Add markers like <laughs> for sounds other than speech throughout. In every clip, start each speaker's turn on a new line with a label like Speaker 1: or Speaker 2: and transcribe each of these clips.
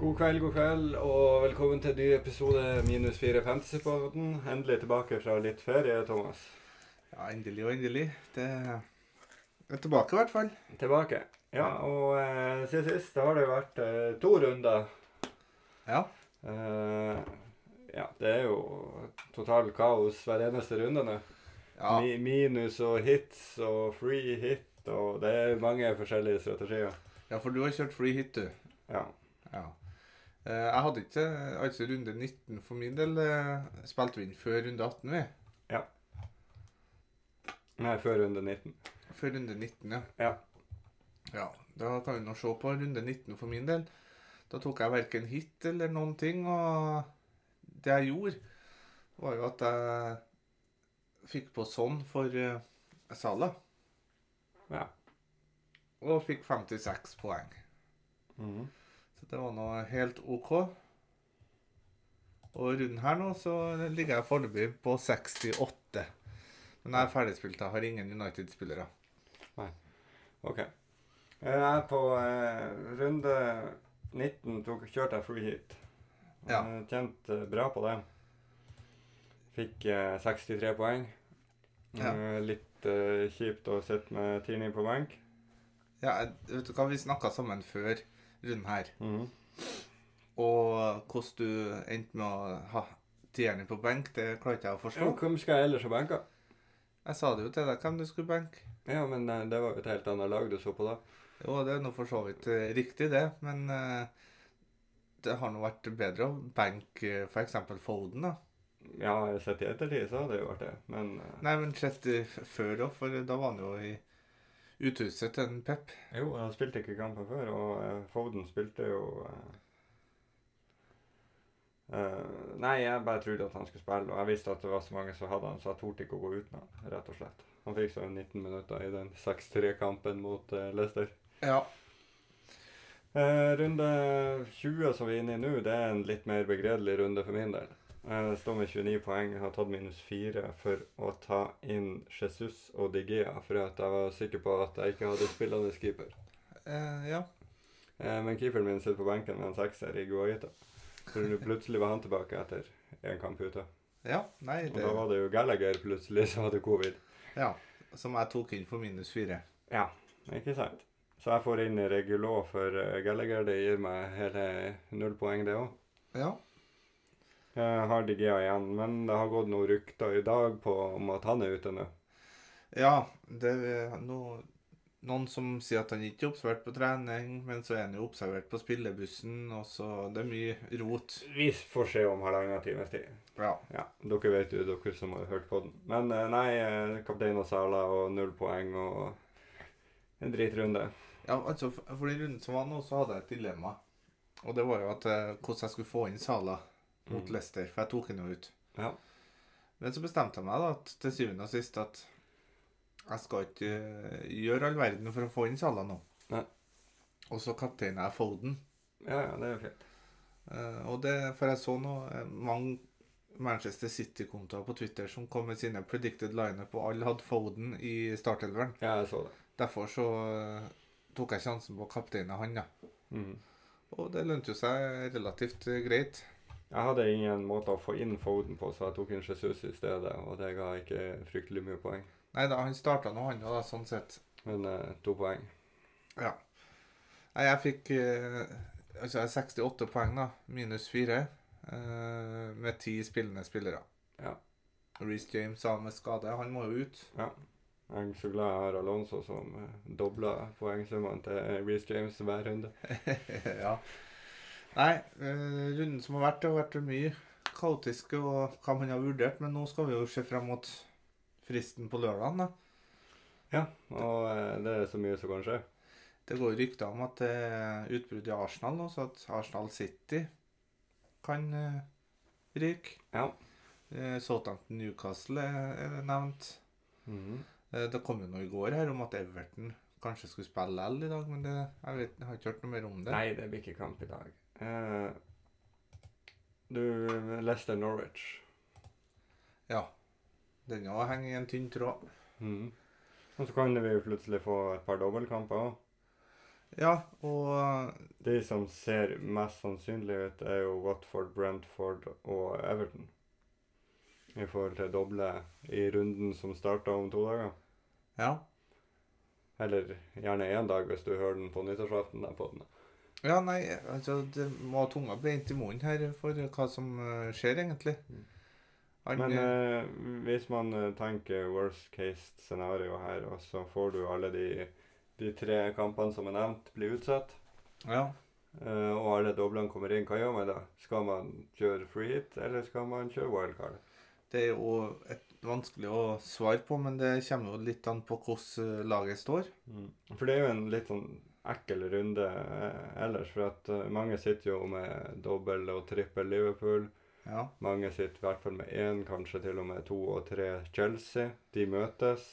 Speaker 1: God kveld, god kveld, og velkommen til ny episode minus fire Fantasypodden. Endelig tilbake fra litt ferie, Thomas.
Speaker 2: Ja, endelig og endelig. Det er tilbake, i hvert fall.
Speaker 1: Tilbake. Ja, og eh, siden sist har det vært eh, to runder.
Speaker 2: Ja.
Speaker 1: Eh, ja, det er jo total kaos hver eneste runde nå.
Speaker 2: ja.
Speaker 1: Mi minus og hits og free hit, og det er mange forskjellige strategier.
Speaker 2: Ja, for du har kjørt free hit, du.
Speaker 1: Ja.
Speaker 2: Ja. Eh, Jeg hadde ikke altså runde 19 for min del eh, spilt vi inn før runde 18, vi.
Speaker 1: Nei, før runde 19.
Speaker 2: Før runde 19, ja.
Speaker 1: Ja.
Speaker 2: Ja, Da kan vi nå se på runde 19 for min del. Da tok jeg verken hit eller noen ting, og det jeg gjorde, var jo at jeg fikk på sånn for eh, Salah,
Speaker 1: Ja.
Speaker 2: og fikk 56 poeng.
Speaker 1: Mhm.
Speaker 2: Så det var nå helt OK. Og runden her nå så ligger jeg foreløpig på 68. Men jeg er ferdigspilt. Jeg har ingen United-spillere.
Speaker 1: Ok. Jeg er på eh, runde 19 tok, kjørte jeg free hit.
Speaker 2: Ja.
Speaker 1: Jeg tjente bra på det. Fikk eh, 63 poeng.
Speaker 2: Ja.
Speaker 1: Eh, litt eh, kjipt å sitte med Tini på benk.
Speaker 2: Ja, jeg- vet du hva, vi snakka sammen før runden her,
Speaker 1: Mhm.
Speaker 2: og hvordan du endte med å ha tieren på benk, det klarte jeg å
Speaker 1: Jo,
Speaker 2: forstå.
Speaker 1: Hvem skal jeg ellers ha benka?
Speaker 2: Jeg sa det jo til deg hvem du skulle benke.
Speaker 1: Ja, men eh, det var jo et helt annet lag du så på da.
Speaker 2: Jo, det er nå for så vidt eh, riktig, det, men eh, det har nå vært bedre å benke f.eks. Foden, da.
Speaker 1: Ja, sett i ettertid så hadde det jo vært det, men eh,
Speaker 2: Nei, men sett eh, f- før da, for da var han jo i uthuset til en Pep.
Speaker 1: Jo, han spilte ikke kampen før, og eh, Foden spilte jo eh, eh, Nei, jeg bare trodde at han skulle spille, og jeg visste at det var så mange som hadde han, så jeg torde ikke å gå uten han, rett og slett. Han fikk så 19 minutter i den 6-3-kampen mot eh, Leicester.
Speaker 2: Ja.
Speaker 1: Eh, runde 20 som vi er inne i nå, det er en litt mer begredelig runde for min del. Jeg står med 29 poeng, har tatt minus 4 for å ta inn Jesus og Digea, for at jeg var sikker på at jeg ikke hadde spillende keeper.
Speaker 2: Eh, ja.
Speaker 1: Eh, Men keeperen min sitter på benken med en sekser i Guajita. Så nu plutselig var han tilbake etter én kamp ute.
Speaker 2: Ja, nei,
Speaker 1: Og
Speaker 2: det
Speaker 1: da var det jo Gallagher plutselig som hadde covid.
Speaker 2: Ja, som jeg tok inn for minus fire.
Speaker 1: Ja, ikke sant? Så jeg får inn Regulå for eh, Gallagher. Det gir meg hele null poeng, det Eh, òg.
Speaker 2: Ja.
Speaker 1: Jeg har Digea igjen, men det har gått noen rykter i dag på om at han er ute nå.
Speaker 2: Ja, det er no, noen som sier at han ikke er observert på trening, men så er han jo observert på spillebussen, og så det er mye rot.
Speaker 1: Vi får se om halvannen times tid.
Speaker 2: Ja.
Speaker 1: Ja, dere vet jo, dere som har hørt på den. Men eh, nei, eh, kaptein og Sala og null poeng og en dritrunde.
Speaker 2: Ja, altså, f- for i runden som var nå, så hadde jeg et dilemma. Og det var jo at eh, hvordan jeg skulle få inn Sala mot
Speaker 1: Mm.
Speaker 2: Leicester, for jeg tok han jo ut.
Speaker 1: Ja.
Speaker 2: Men så bestemte jeg meg da, at til syvende og sist at jeg skal ikke eh, gjøre all verden for å få inn Salah nå.
Speaker 1: Nei.
Speaker 2: Og så kapteina jeg Foden.
Speaker 1: Ja, ja, det er jo fint.
Speaker 2: Eh, Og det, for jeg så nå eh, mange Manchester City-kontoer på Twitter som kom med sine predicted lineup, og alle hadde Foden i startelveren.
Speaker 1: Ja, jeg så det.
Speaker 2: Derfor så eh, tok jeg sjansen på å kapteine han, da. Og det lønte jo seg relativt eh, greit.
Speaker 1: Jeg hadde ingen måte å få inn Foden på, så jeg tok inn Jesus i stedet, og det ga ikke fryktelig mye poeng.
Speaker 2: Nei da, han starta nå, han òg, da, sånn sett.
Speaker 1: Men eh, to poeng.
Speaker 2: Ja. Nei, jeg fikk eh, altså jeg har 68 poeng, da. Minus 4. Eh, med ti spillende spillere.
Speaker 1: Ja.
Speaker 2: Reece James har med skade. Han må jo ut.
Speaker 1: Jeg er så glad jeg har Alonso som eh, dobla poengsummene til Reece James hver runde.
Speaker 2: <laughs> ja. Nei, eh, runden som har vært, det har vært mye kaotiske og hva man har vurdert, men nå skal vi jo se frem mot fristen på lørdagen, da.
Speaker 1: Ja, og eh, det er så mye som kan skje.
Speaker 2: Det går jo rykter om at det er utbrudd i Arsenal nå, så at Arsenal City kan uh, ryke.
Speaker 1: Ja.
Speaker 2: Eh, Southampton Newcastle er er nevnt. Eh, Det kom jo noe i går her om at Everton kanskje skulle spille L i dag, men det, jeg, vet, jeg har ikke hørt noe mer om det.
Speaker 1: Nei, det blir ikke kamp i dag. Eh, du, Leicester Norwich.
Speaker 2: Ja. Den òg henger i en tynn tråd.
Speaker 1: Og så kan vi jo plutselig få et par dobbeltkamper òg.
Speaker 2: Ja, og
Speaker 1: De som ser mest sannsynlig ut, er jo Watford, Brentford og Everton. I forhold til doble i runden som starter om to dager.
Speaker 2: ja.
Speaker 1: Eller gjerne én dag hvis du hører den på nyttårsaften. der på den.
Speaker 2: Ja, nei, altså det må tunga brent i munnen her for hva som eh, skjer, egentlig.
Speaker 1: Mm.
Speaker 2: Han,
Speaker 1: Men
Speaker 2: eh,
Speaker 1: eh, hvis man eh, tenker worst case scenario her, og så får du alle de, de tre kampene som er nevnt, blir utsatt,
Speaker 2: ja.
Speaker 1: eh, og alle doblene kommer inn, hva gjør man da? Skal man kjøre free hit, eller skal man kjøre wildcard?
Speaker 2: Det er jo et vanskelig å svare på, men det kommer jo litt an på hvordan eh, laget står.
Speaker 1: Mm. For det er jo en litt sånn ekkel runde eh, ellers, for at eh, mange sitter jo med dobbel og trippel Liverpool.
Speaker 2: Ja,
Speaker 1: Mange sitter i hvert fall med én, kanskje til og med to og tre Chelsea. De møtes.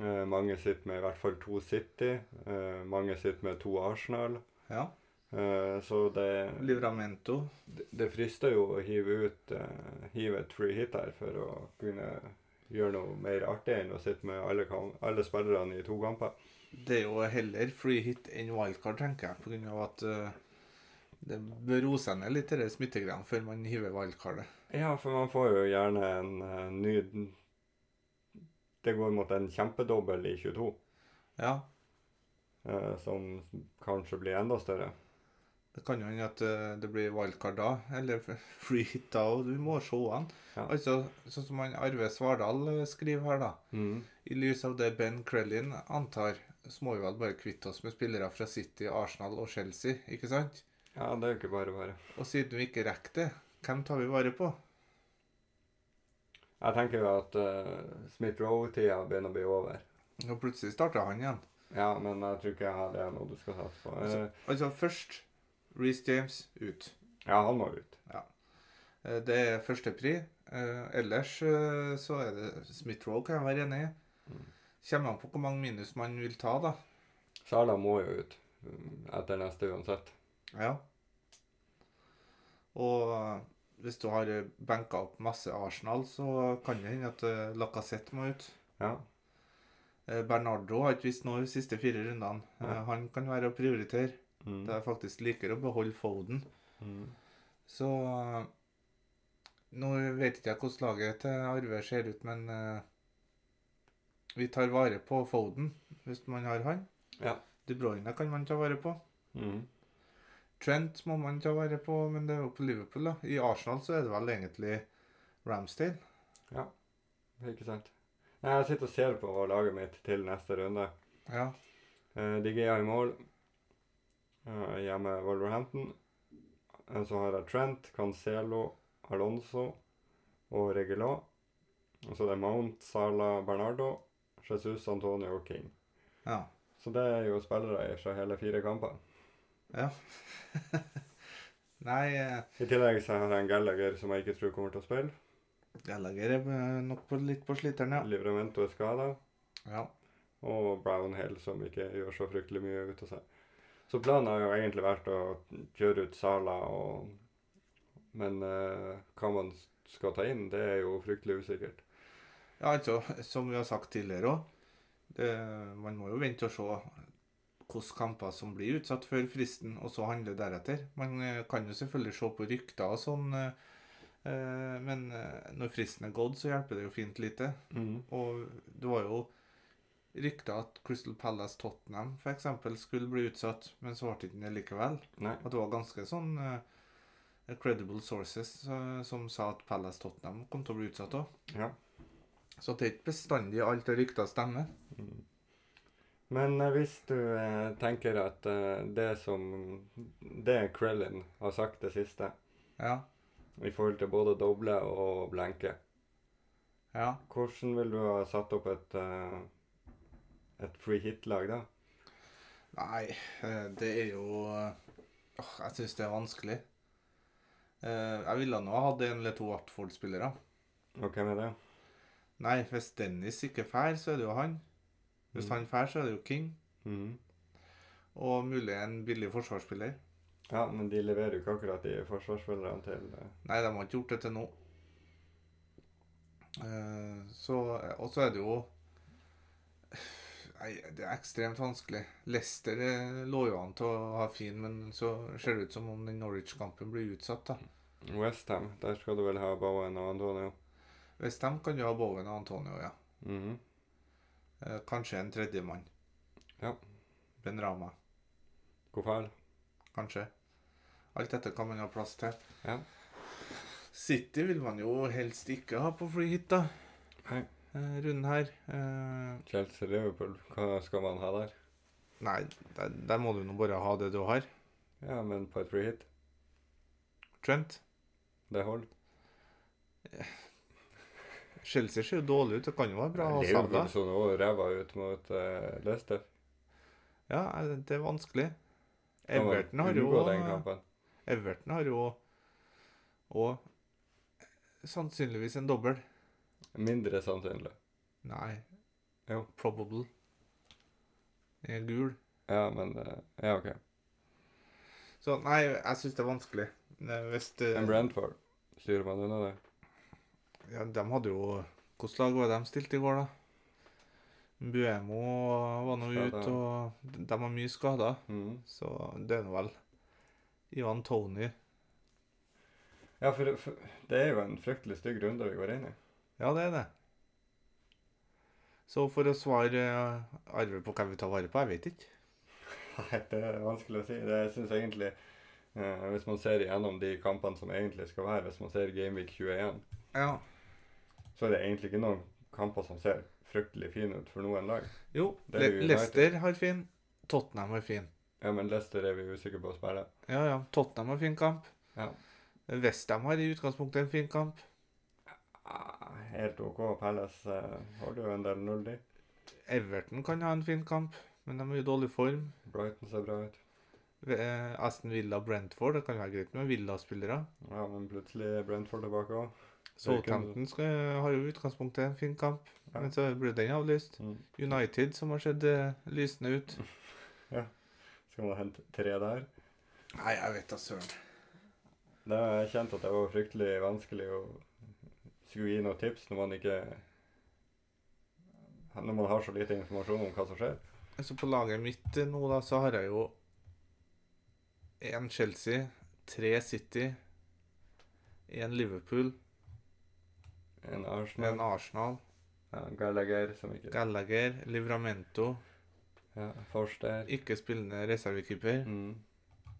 Speaker 1: Eh, mange sitter med i hvert fall to City. Eh, mange sitter med to Arsenal.
Speaker 2: ja.
Speaker 1: Eh, så det,
Speaker 2: Livramento.
Speaker 1: det frister jo å hive ut eh, hive et free hit her for å kunne gjøre noe mer artig enn å sitte med alle, kam- alle spillerne i to kamper.
Speaker 2: Det er jo heller free hit enn wildcard, tenker jeg, på grunn av at eh, det bør roe seg ned litt, det smittegreiene, før man hiver wildcardet.
Speaker 1: Ja, for man får jo gjerne en eh, ny Det går mot en kjempedobbel i 22,
Speaker 2: Ja,
Speaker 1: eh, som kanskje blir enda større.
Speaker 2: Det kan jo hende at eh, det blir wildcard da, eller f- free hit da, og du må se han.
Speaker 1: Ja.
Speaker 2: Altså, sånn som han Arve Svardal eh, skriver her da,
Speaker 1: Mm.
Speaker 2: i lys av det Ben Krellin antar, så må vi vel bare kvitte oss med spillere fra City, Arsenal og Chelsea, ikke sant?
Speaker 1: Ja, det er jo ikke bare bare.
Speaker 2: Og siden vi ikke rekker det, hvem tar vi vare på?
Speaker 1: Jeg tenker jo at eh, Smith Rowe-tida begynner å bli over.
Speaker 2: Og plutselig starter han igjen.
Speaker 1: Ja, men jeg tror ikke jeg- det er noe du skal satse på. Eh,
Speaker 2: Altså, først, Reece James ut.
Speaker 1: ja, han må ut.
Speaker 2: Eh, Det er første pri. Eh, Ellers eh, så er det Smith-Rowe, kan jeg være enig i. Kommer an på hvor mange minus man vil ta, da.
Speaker 1: Sala må jo ut mm, etter neste uansett.
Speaker 2: Ja. Og eh, hvis du har benka opp masse Arsenal, så kan det hende at eh, Lacazette må ut.
Speaker 1: Ja.
Speaker 2: Eh, Bernardo har ikke visst noe de siste fire rundene. Eh,
Speaker 1: Nei.
Speaker 2: Han kan være å prioritere.
Speaker 1: Mm.
Speaker 2: Det er faktisk likere å beholde Foden.
Speaker 1: Mm.
Speaker 2: Så eh, Nå vet ikke jeg hvordan laget til Arve ser ut, men eh, vi tar vare på Foden hvis man har han.
Speaker 1: Ja.
Speaker 2: De Bruyne kan man ta vare på.
Speaker 1: Mm.
Speaker 2: Trent må man ta vare på, men det er jo på Liverpool, da. I Arsenal så er det vel egentlig Ramsdale.
Speaker 1: Ikke sant. Nei, jeg sitter og ser på laget mitt til neste runde.
Speaker 2: Ja.
Speaker 1: Uh, Digea i mål. Eh, hjemme Wolverhampton. Eh, Så har jeg Trent, Cancelo, Alonso og Regulat. Og så det er Mount, Sala, Bernardo, Jesus, Antonio og King.
Speaker 2: ja.
Speaker 1: Så det er jo spillere i fra hele fire kamper.
Speaker 2: <laughs> Nei, eh,
Speaker 1: I tillegg så har jeg en Gallagher som jeg ikke tror kommer til å spille.
Speaker 2: Gallagher er eh, nok på, litt på sliteren, ja.
Speaker 1: Livramento er skada.
Speaker 2: ja.
Speaker 1: Og Brownhill som ikke gjør så fryktelig mye ut av seg. Så planen har jo egentlig vært å kjøre ut Sala og Men eh, hva man skal ta inn, det er jo fryktelig usikkert.
Speaker 2: Ja, altså, som vi har sagt tidligere òg, man må jo vente og se hvilke kamper som blir utsatt før fristen, og så handle deretter. Man eh, kan jo selvfølgelig se på rykter og sånn, eh, eh, men eh, når fristen er gått, så hjelper det jo fint lite. Og det var jo rykter at Crystal Palace Tottenham f.eks. skulle bli utsatt, men så ble det ikke det likevel.
Speaker 1: Nei.
Speaker 2: At det var ganske sånn eh, credible sources eh, som sa at Palace Tottenham kom til å bli utsatt òg.
Speaker 1: Ja.
Speaker 2: Så det er ikke bestandig alt av rykter stemmer.
Speaker 1: Men eh, hvis du eh, tenker at eh, det som Det Krellin har sagt det siste,
Speaker 2: Ja.
Speaker 1: i forhold til både doble og blenke,
Speaker 2: ja.
Speaker 1: hvordan vil du ha satt opp et eh, et free hit-lag, da?
Speaker 2: Nei, eh, det er jo eh, Åh, Jeg syns det er vanskelig. Eh, Jeg ville nå ha hatt en eller to Watford-spillere.
Speaker 1: Og hvem er det?
Speaker 2: Nei, hvis Dennis ikke fær, så er det jo han. Hvis
Speaker 1: Mm.
Speaker 2: han fær, så er det jo King.
Speaker 1: Mhm.
Speaker 2: Og mulig en billig forsvarsspiller.
Speaker 1: Ja, men de leverer jo ikke akkurat de forsvarsspillerne til eh,
Speaker 2: Nei, de har ikke gjort det til nå. Eh, Så, og så er det jo Nei, det er ekstremt vanskelig. Leicester eh, lå jo an til å ha fin, men så ser det ut som om den Norwich-kampen blir utsatt. da.
Speaker 1: Westham, der skal du vel ha Bowen og Antonio?
Speaker 2: Westham kan jo ha Bowen og Antonio, ja.
Speaker 1: Mhm.
Speaker 2: Eh, Kanskje en tredjemann.
Speaker 1: Ja.
Speaker 2: Ben Rama,
Speaker 1: Kofal?
Speaker 2: kanskje. Alt dette kan man ha plass til.
Speaker 1: Ja.
Speaker 2: City vil man jo helst ikke ha på fly hit, da.
Speaker 1: Nei.
Speaker 2: Eh, Runden her. Eh,
Speaker 1: Chelsea-Liverpool, hva skal man ha der?
Speaker 2: Nei, der, der må du nå bare ha det du har.
Speaker 1: Ja, men par free hit,
Speaker 2: Trent.
Speaker 1: det holder.
Speaker 2: Chelsea ser jo dårlig ut. Det kan jo være bra å ha Sala.
Speaker 1: Liverpool så nå ræva ut mot eh, Leicester.
Speaker 2: Ja, eh, det er vanskelig.
Speaker 1: Kan man
Speaker 2: Everton har jo
Speaker 1: Unngå den kampen.
Speaker 2: Everton har jo og sannsynligvis en dobbel.
Speaker 1: Mindre sannsynlig.
Speaker 2: Nei,
Speaker 1: Jo.
Speaker 2: probable. Den er gul.
Speaker 1: Ja, men eh, Ja, OK.
Speaker 2: Så nei, jeg syns det er vanskelig. Eh, Hvis det,
Speaker 1: En Brentford, styrer man unna det?
Speaker 2: ja, de hadde jo Hvilket lag var det de stilte i går, da? Buemo var nå
Speaker 1: Skadet.
Speaker 2: ute, og de har mye skader.
Speaker 1: Mhm.
Speaker 2: Så det er nå vel Ivan Tony.
Speaker 1: Ja, for, for det er jo en fryktelig stygg runde vi går inn i.
Speaker 2: Ja, det er det. Så for å svare eh, Arve på hva vi tar vare på, jeg vet ikke.
Speaker 1: Nei, det er vanskelig å si. Det jeg synes egentlig eh, Hvis man ser igjennom de kampene som egentlig skal være, hvis man ser Gameweek 21,
Speaker 2: Ja.
Speaker 1: så er det egentlig ikke noen kamper som ser fryktelig fine ut for noen lag.
Speaker 2: Jo,
Speaker 1: Det er
Speaker 2: Le
Speaker 1: United.
Speaker 2: Leicester har fin. Tottenham har fin.
Speaker 1: Ja, men Leicester er vi usikre på å spille.
Speaker 2: Ja, ja. Tottenham har fin kamp.
Speaker 1: Ja.
Speaker 2: Westham har i utgangspunktet en fin kamp.
Speaker 1: Ah, Helt OK. Palace eh, holder jo en del null, de.
Speaker 2: Everton kan ha en fin kamp, men de er i dårlig form.
Speaker 1: Brighton ser bra ut.
Speaker 2: Ve- eh, Aston Villa og Brentford, det kan være greit med Villa-spillere.
Speaker 1: Ja, men plutselig er Brentford tilbake òg.
Speaker 2: Southampton skal- har jo i utgangspunktet en fin kamp,
Speaker 1: Ja.
Speaker 2: men så blir den avlyst.
Speaker 1: Mm.
Speaker 2: United, som har sett eh, lysende ut.
Speaker 1: Skal man hente tre der?
Speaker 2: Nei, jeg vet da søren.
Speaker 1: Det har jeg kjent at det var fryktelig vanskelig å skulle gi noen tips når man ikke Når man har så lite informasjon om hva som skjer.
Speaker 2: Altså På laget mitt eh, nå, da, så har jeg jo én Chelsea, tre City, én Liverpool,
Speaker 1: En Arsenal,
Speaker 2: én Arsenal,
Speaker 1: ja, Gallagher som ikke
Speaker 2: Gallagher, Livramento,
Speaker 1: ja, Forster.
Speaker 2: ikke spillende reservekeeper.
Speaker 1: Mm.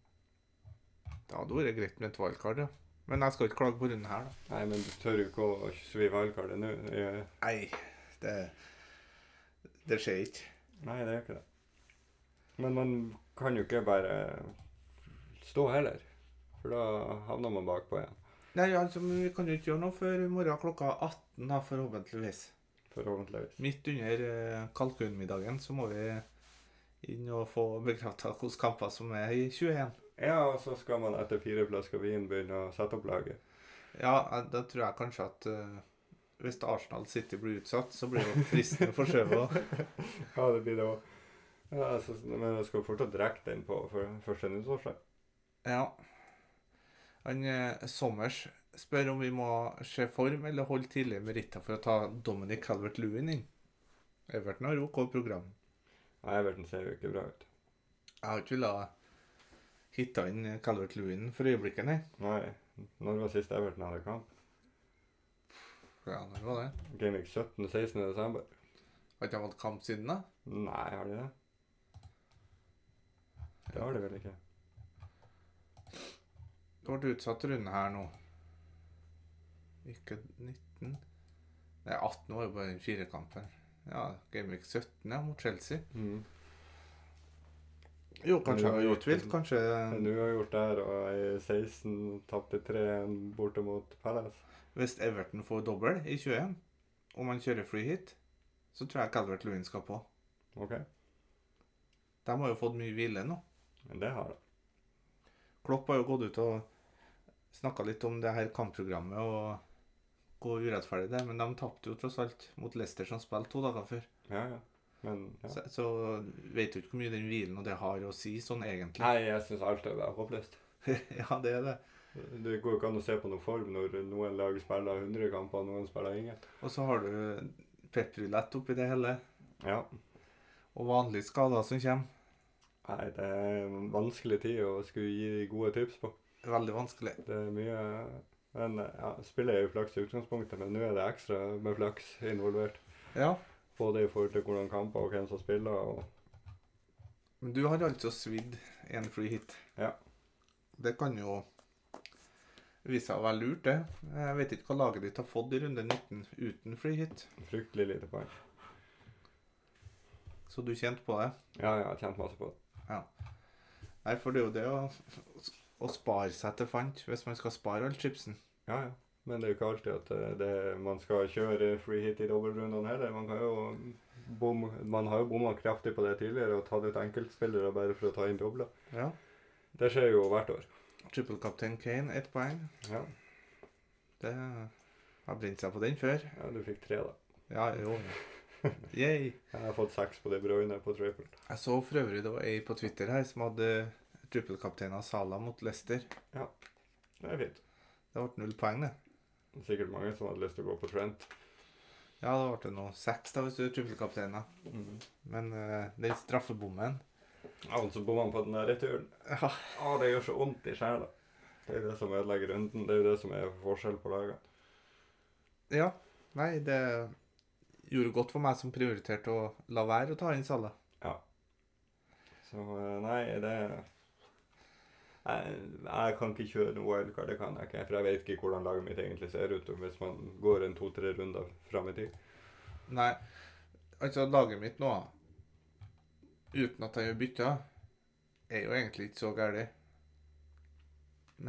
Speaker 2: Det hadde vært greit med et wildcard, ja. Men jeg skal ikke klage på runden her, da.
Speaker 1: Nei, men du tør jo ikke å svi valgkartet nå. Eh,
Speaker 2: Nei, det, det skjer ikke.
Speaker 1: Nei, det gjør ikke det. Men man kan jo ikke bare stå heller. For da havner man bakpå igjen,
Speaker 2: Nei, altså, men Vi kan jo ikke gjøre noe før i morgen klokka 18, da, forhåpentligvis.
Speaker 1: forhåpentligvis.
Speaker 2: Midt under eh, kalkunmiddagen så må vi inn og få bekrefta hvilke kamper som er i 21.
Speaker 1: Ja, og så skal man etter fire flasker vin begynne å sette opp laget.
Speaker 2: Ja, eh, da tror jeg kanskje at eh, hvis Arsenal City blir utsatt, så blir det fristende for Sjøvo.
Speaker 1: <laughs> Ja, det blir det òg. Ja, så, men jeg skal fortsatt rekke den på for første nyttårsdag.
Speaker 2: Ja. Han eh, Sommers spør om vi må se form eller holde tidligere meritter for å ta Dominic Calvert-Lewin inn. Everton har OK program.
Speaker 1: Nei, Everton ser jo ikke bra ut.
Speaker 2: Jeg har ikke villet hitte inn Calvert-Lewin for øyeblikket, nei.
Speaker 1: Nei. Når var sist Everton hadde kamp?
Speaker 2: Ja, det var det.
Speaker 1: Gameweek 17. 16. desember?
Speaker 2: Har ikke han hatt kamp siden, da?
Speaker 1: Nei, har de det? Det har de vel ikke.
Speaker 2: Det ble utsatt runde her nå. Ikke 19 Nei, 18 var jo bare den firekampen. Ja, Gameweek 17 ja, mot Chelsea.
Speaker 1: Mm.
Speaker 2: Jo,
Speaker 1: kanskje
Speaker 2: kanskje
Speaker 1: jeg var
Speaker 2: utvilt.
Speaker 1: utvilt,
Speaker 2: Kanskje
Speaker 1: Du har gjort det her, og i 16 tapte 3-1 borte mot Palace.
Speaker 2: hvis Everton får dobbel i 21, og man kjører fly hit, så tror jeg Calvert Lewin skal på.
Speaker 1: OK?
Speaker 2: De har jo fått mye hvile nå.
Speaker 1: Men det har de.
Speaker 2: Klopp har jo gått ut og snakka litt om det her kampprogrammet og hvor urettferdig det er, men de tapte jo tross alt mot Leicester, som spilte to dager før.
Speaker 1: Ja, ja. Men ja.
Speaker 2: Så, så vet du ikke hvor mye den hvilen og det har å si, sånn egentlig.
Speaker 1: Nei, jeg syns alt er bare håpløst.
Speaker 2: <laughs> ja, det er det.
Speaker 1: Det går jo ikke an å se på noen form når noen lag spiller 100 kamper og noen spiller ingen.
Speaker 2: Og så har du pepperulett oppi det hele.
Speaker 1: Ja.
Speaker 2: og vanlige skader som kommer.
Speaker 1: Nei, det er en vanskelig tid å skulle gi gode tips på.
Speaker 2: Veldig vanskelig.
Speaker 1: Det er mye Men ja, spillet er jo flaks i utgangspunktet, men nå er det ekstra med flaks involvert.
Speaker 2: Ja,
Speaker 1: Både i forhold til hvordan kamper og hvem som spiller. og
Speaker 2: men du har altså svidd en fly hit.
Speaker 1: Ja.
Speaker 2: Det kan jo vise seg å være lurt, det. Jeg vet ikke hva laget ditt har fått i runde 19 uten fly hit,
Speaker 1: Fryktelig lite poeng.
Speaker 2: så du kjente på det.
Speaker 1: Ja, ja, jeg har tjent masse på det.
Speaker 2: Nei, for det er jo det å, å spare seg til fant, hvis man skal spare all chipsen.
Speaker 1: Ja, ja. Men det er jo ikke alltid at eh, det, man skal kjøre free hit i dobbeltrundene heller. Man, kan jo bom, man har jo bomma kraftig på det tidligere og tatt ut enkeltspillere bare for å ta inn dobler.
Speaker 2: Ja.
Speaker 1: Det skjer jo hvert år.
Speaker 2: Trippelkaptein Kane, ett poeng.
Speaker 1: Ja,
Speaker 2: Det har brent seg på den før.
Speaker 1: ja du fikk tre, da.
Speaker 2: Ja, jo. <laughs> Yay.
Speaker 1: Jeg har fått seks på De Bruyne på triple.
Speaker 2: Jeg så for øvrig det var ei på Twitter her som hadde trippelkaptein av Sala mot Leicester.
Speaker 1: Det er fint.
Speaker 2: Det ble null poeng, det.
Speaker 1: Sikkert mange som hadde lyst til å gå på Trent.
Speaker 2: Ja, det ble nå seks, da, hvis du er trippelkaptein. da. Men eh, den straffebommen
Speaker 1: Ja, og så bommer man på den der returen.
Speaker 2: Ja.
Speaker 1: Å, det gjør så vondt i sjela. Det er jo det som ødelegger runden. Det er jo det som er forskjell på lagene.
Speaker 2: Ja. Nei, det gjorde godt for meg som prioriterte å la være å ta inn Sala.
Speaker 1: Så eh, nei, det jeg, jeg kan ikke kjøre noe wildcard, det kan jeg ikke. For jeg vet ikke hvordan laget mitt egentlig ser ut hvis man går en to-tre runder fram i tid.
Speaker 2: Nei, altså laget mitt nå, uten at jeg gjør bytta, er jo egentlig ikke så gærlig.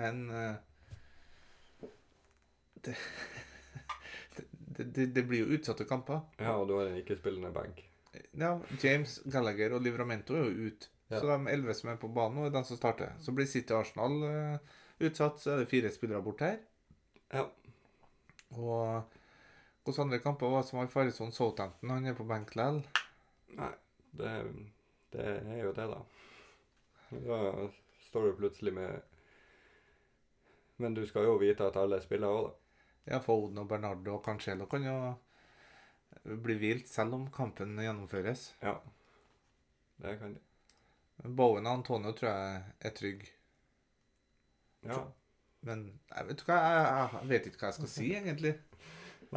Speaker 2: Men eh, <laughs> det, det, det, det blir jo utsatte kamper.
Speaker 1: Ja, og du har en ikke-spillende benk.
Speaker 2: Ja, James, Gallagher og Livramento er jo ute. Så
Speaker 1: Ja.
Speaker 2: de elleve som er på banen nå, er de som starter. Så blir City og Arsenal eh, utsatt, så er det fire spillere bort her.
Speaker 1: Ja.
Speaker 2: Og hvilke andre kamper var det som var i faresonen? Southampton, han er på benk likevel.
Speaker 1: Det, det er jo det, da. Da står du plutselig med Men du skal jo vite at alle spiller òg, da.
Speaker 2: Ja, Foden og Bernardo og Cancelo kan jo bli hvilt selv om kampen gjennomføres.
Speaker 1: Ja. Det kan de.
Speaker 2: Bowen og Antonio tror jeg er trygg.
Speaker 1: Ja.
Speaker 2: Men jeg vet, hva, jeg, jeg vet ikke hva jeg skal si, egentlig.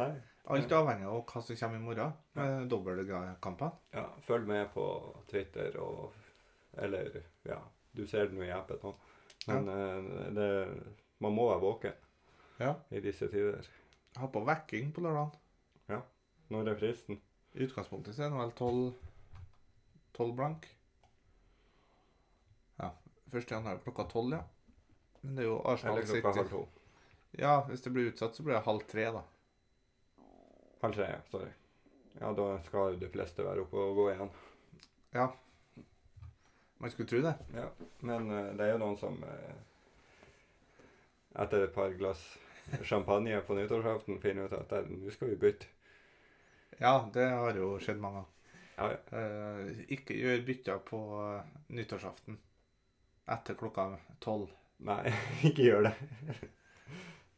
Speaker 1: Nei.
Speaker 2: Alt avhenger av hva som kommer i morgen med dobbeltkampene.
Speaker 1: Ja, følg med på Twitter og Eller, ja, du ser den jo i appen nå. Men eh, det, man må være våken
Speaker 2: Ja.
Speaker 1: i disse tider.
Speaker 2: Jeg har på vekking på lørdagen.
Speaker 1: Når er fristen?
Speaker 2: I utgangspunktet så er det vel 12, 12 blank. Ja. 1. januar klokka 12, ja. Men det er jo Arsenal
Speaker 1: Eller klokka halv
Speaker 2: City.
Speaker 1: to?
Speaker 2: Ja, hvis det blir utsatt, så blir det halv tre, da.
Speaker 1: Halv tre, ja. Sorry. Ja, da skal jo de fleste være oppe og gå igjen.
Speaker 2: Man skulle tro det.
Speaker 1: Ja. Men eh, det er jo noen som eh, etter et par glass champagne på nyttårsaften finner ut at eh, nå skal vi bytte.
Speaker 2: Ja, det har jo skjedd mange ganger.
Speaker 1: Ja, ja.
Speaker 2: Eh, ikke gjør bytter på eh, nyttårsaften etter klokka tolv.
Speaker 1: Nei, <laughs> ikke gjør det.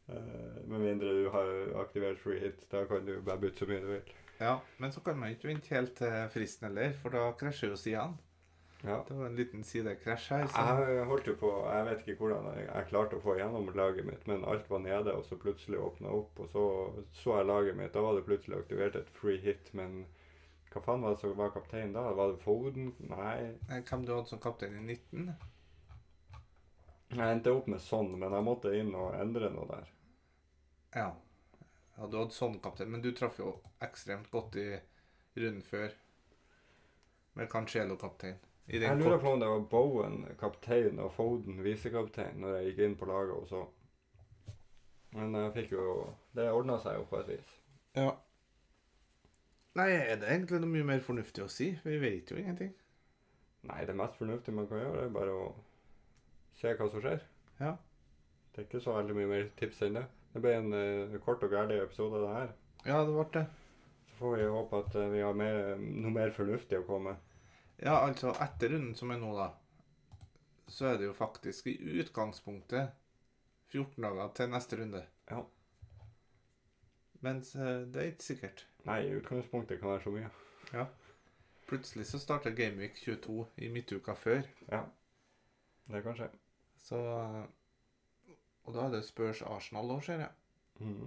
Speaker 1: Eh, Med mindre du har aktivert free hit. Da kan du bare bytte så mye du vil.
Speaker 2: Ja, men så kan man ikke vente helt til fristen heller, for da krasjer jo sidene.
Speaker 1: Ja.
Speaker 2: Det var en liten sidekrasj her. Så.
Speaker 1: Jeg eh, holdt jo på Jeg vet ikke hvordan jeg, jeg klarte å få gjennom laget mitt, men alt var nede, og så plutselig åpna opp, og så så jeg laget mitt. Da var det plutselig aktivert et free hit, men hva faen var det som var kaptein da? Var det Foden? Nei.
Speaker 2: Eh, Hvem du hadde som kaptein i 19?
Speaker 1: Jeg endte opp med sånn, men jeg måtte inn og endre noe der.
Speaker 2: Ja. ja, du hadde sånn kaptein, men du traff jo ekstremt godt i runden før. Med Cancelo-kaptein. I
Speaker 1: Jeg
Speaker 2: den
Speaker 1: lurer
Speaker 2: kort-
Speaker 1: på om det var Bowen kaptein og Foden visekaptein når jeg gikk inn på laget og så. Men jeg fikk jo Det ordna seg jo på et vis.
Speaker 2: Ja. Nei, er det egentlig noe mye mer fornuftig å si? Vi vet jo ingenting.
Speaker 1: Nei, det mest fornuftige man kan gjøre, er bare å se hva som skjer.
Speaker 2: Ja.
Speaker 1: Det er ikke så veldig mye mer tips enn det. Det ble en eh, kort og gærlig episode, det her.
Speaker 2: Ja, det ble det.
Speaker 1: Så får vi håpe at eh, vi har mer, noe mer fornuftig å komme med.
Speaker 2: Ja, altså etter runden som er nå, da, så er det jo faktisk i utgangspunktet 14 dager til neste runde.
Speaker 1: Ja.
Speaker 2: Mens eh, det er ikke sikkert.
Speaker 1: Nei, i utgangspunktet kan være så mye.
Speaker 2: Plutselig så starta Gameweek 22 i midtuka før.
Speaker 1: Det kan skje.
Speaker 2: Så Og da er det Spurs Arsenal òg, ser jeg.
Speaker 1: Mhm.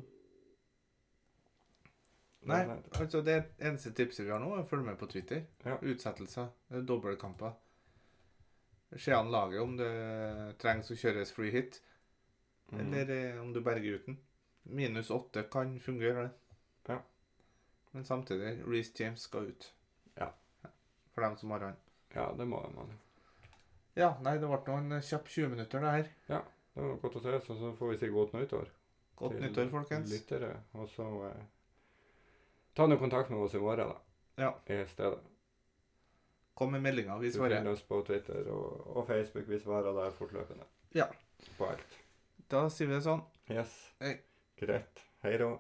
Speaker 2: Nei,
Speaker 1: Men,
Speaker 2: altså det eneste tipset vi har nå, er å følge med på Twitter.
Speaker 1: Ja.
Speaker 2: Utsettelser, eh, dobbeltkamper. Se an laget om det trengs å kjøres free hit,
Speaker 1: mhm.
Speaker 2: eller eh, om du berger uten. Minus åtte kan fungere, det.
Speaker 1: Ja.
Speaker 2: Men samtidig, Reece James skal ut.
Speaker 1: Ja.
Speaker 2: For dem som har han.
Speaker 1: Ja, det må man.
Speaker 2: Ja, nei, det ble nå en kjapp 20 minutter, det her.
Speaker 1: Det var godt å se, så så får vi si godt nyttår.
Speaker 2: Godt
Speaker 1: til
Speaker 2: nyttår, folkens.
Speaker 1: Lyttere. Og så eh, ta nå kontakt med oss i morgen, da.
Speaker 2: Ja.
Speaker 1: I stedet.
Speaker 2: Kom med meldinger, vi
Speaker 1: Du finner
Speaker 2: svarer.
Speaker 1: oss på Twitter og, og Facebook. Vi svarer der fortløpende.
Speaker 2: Ja.
Speaker 1: På alt.
Speaker 2: Da sier vi det sånn.
Speaker 1: Yes.
Speaker 2: Hei.
Speaker 1: Greit. Hei da.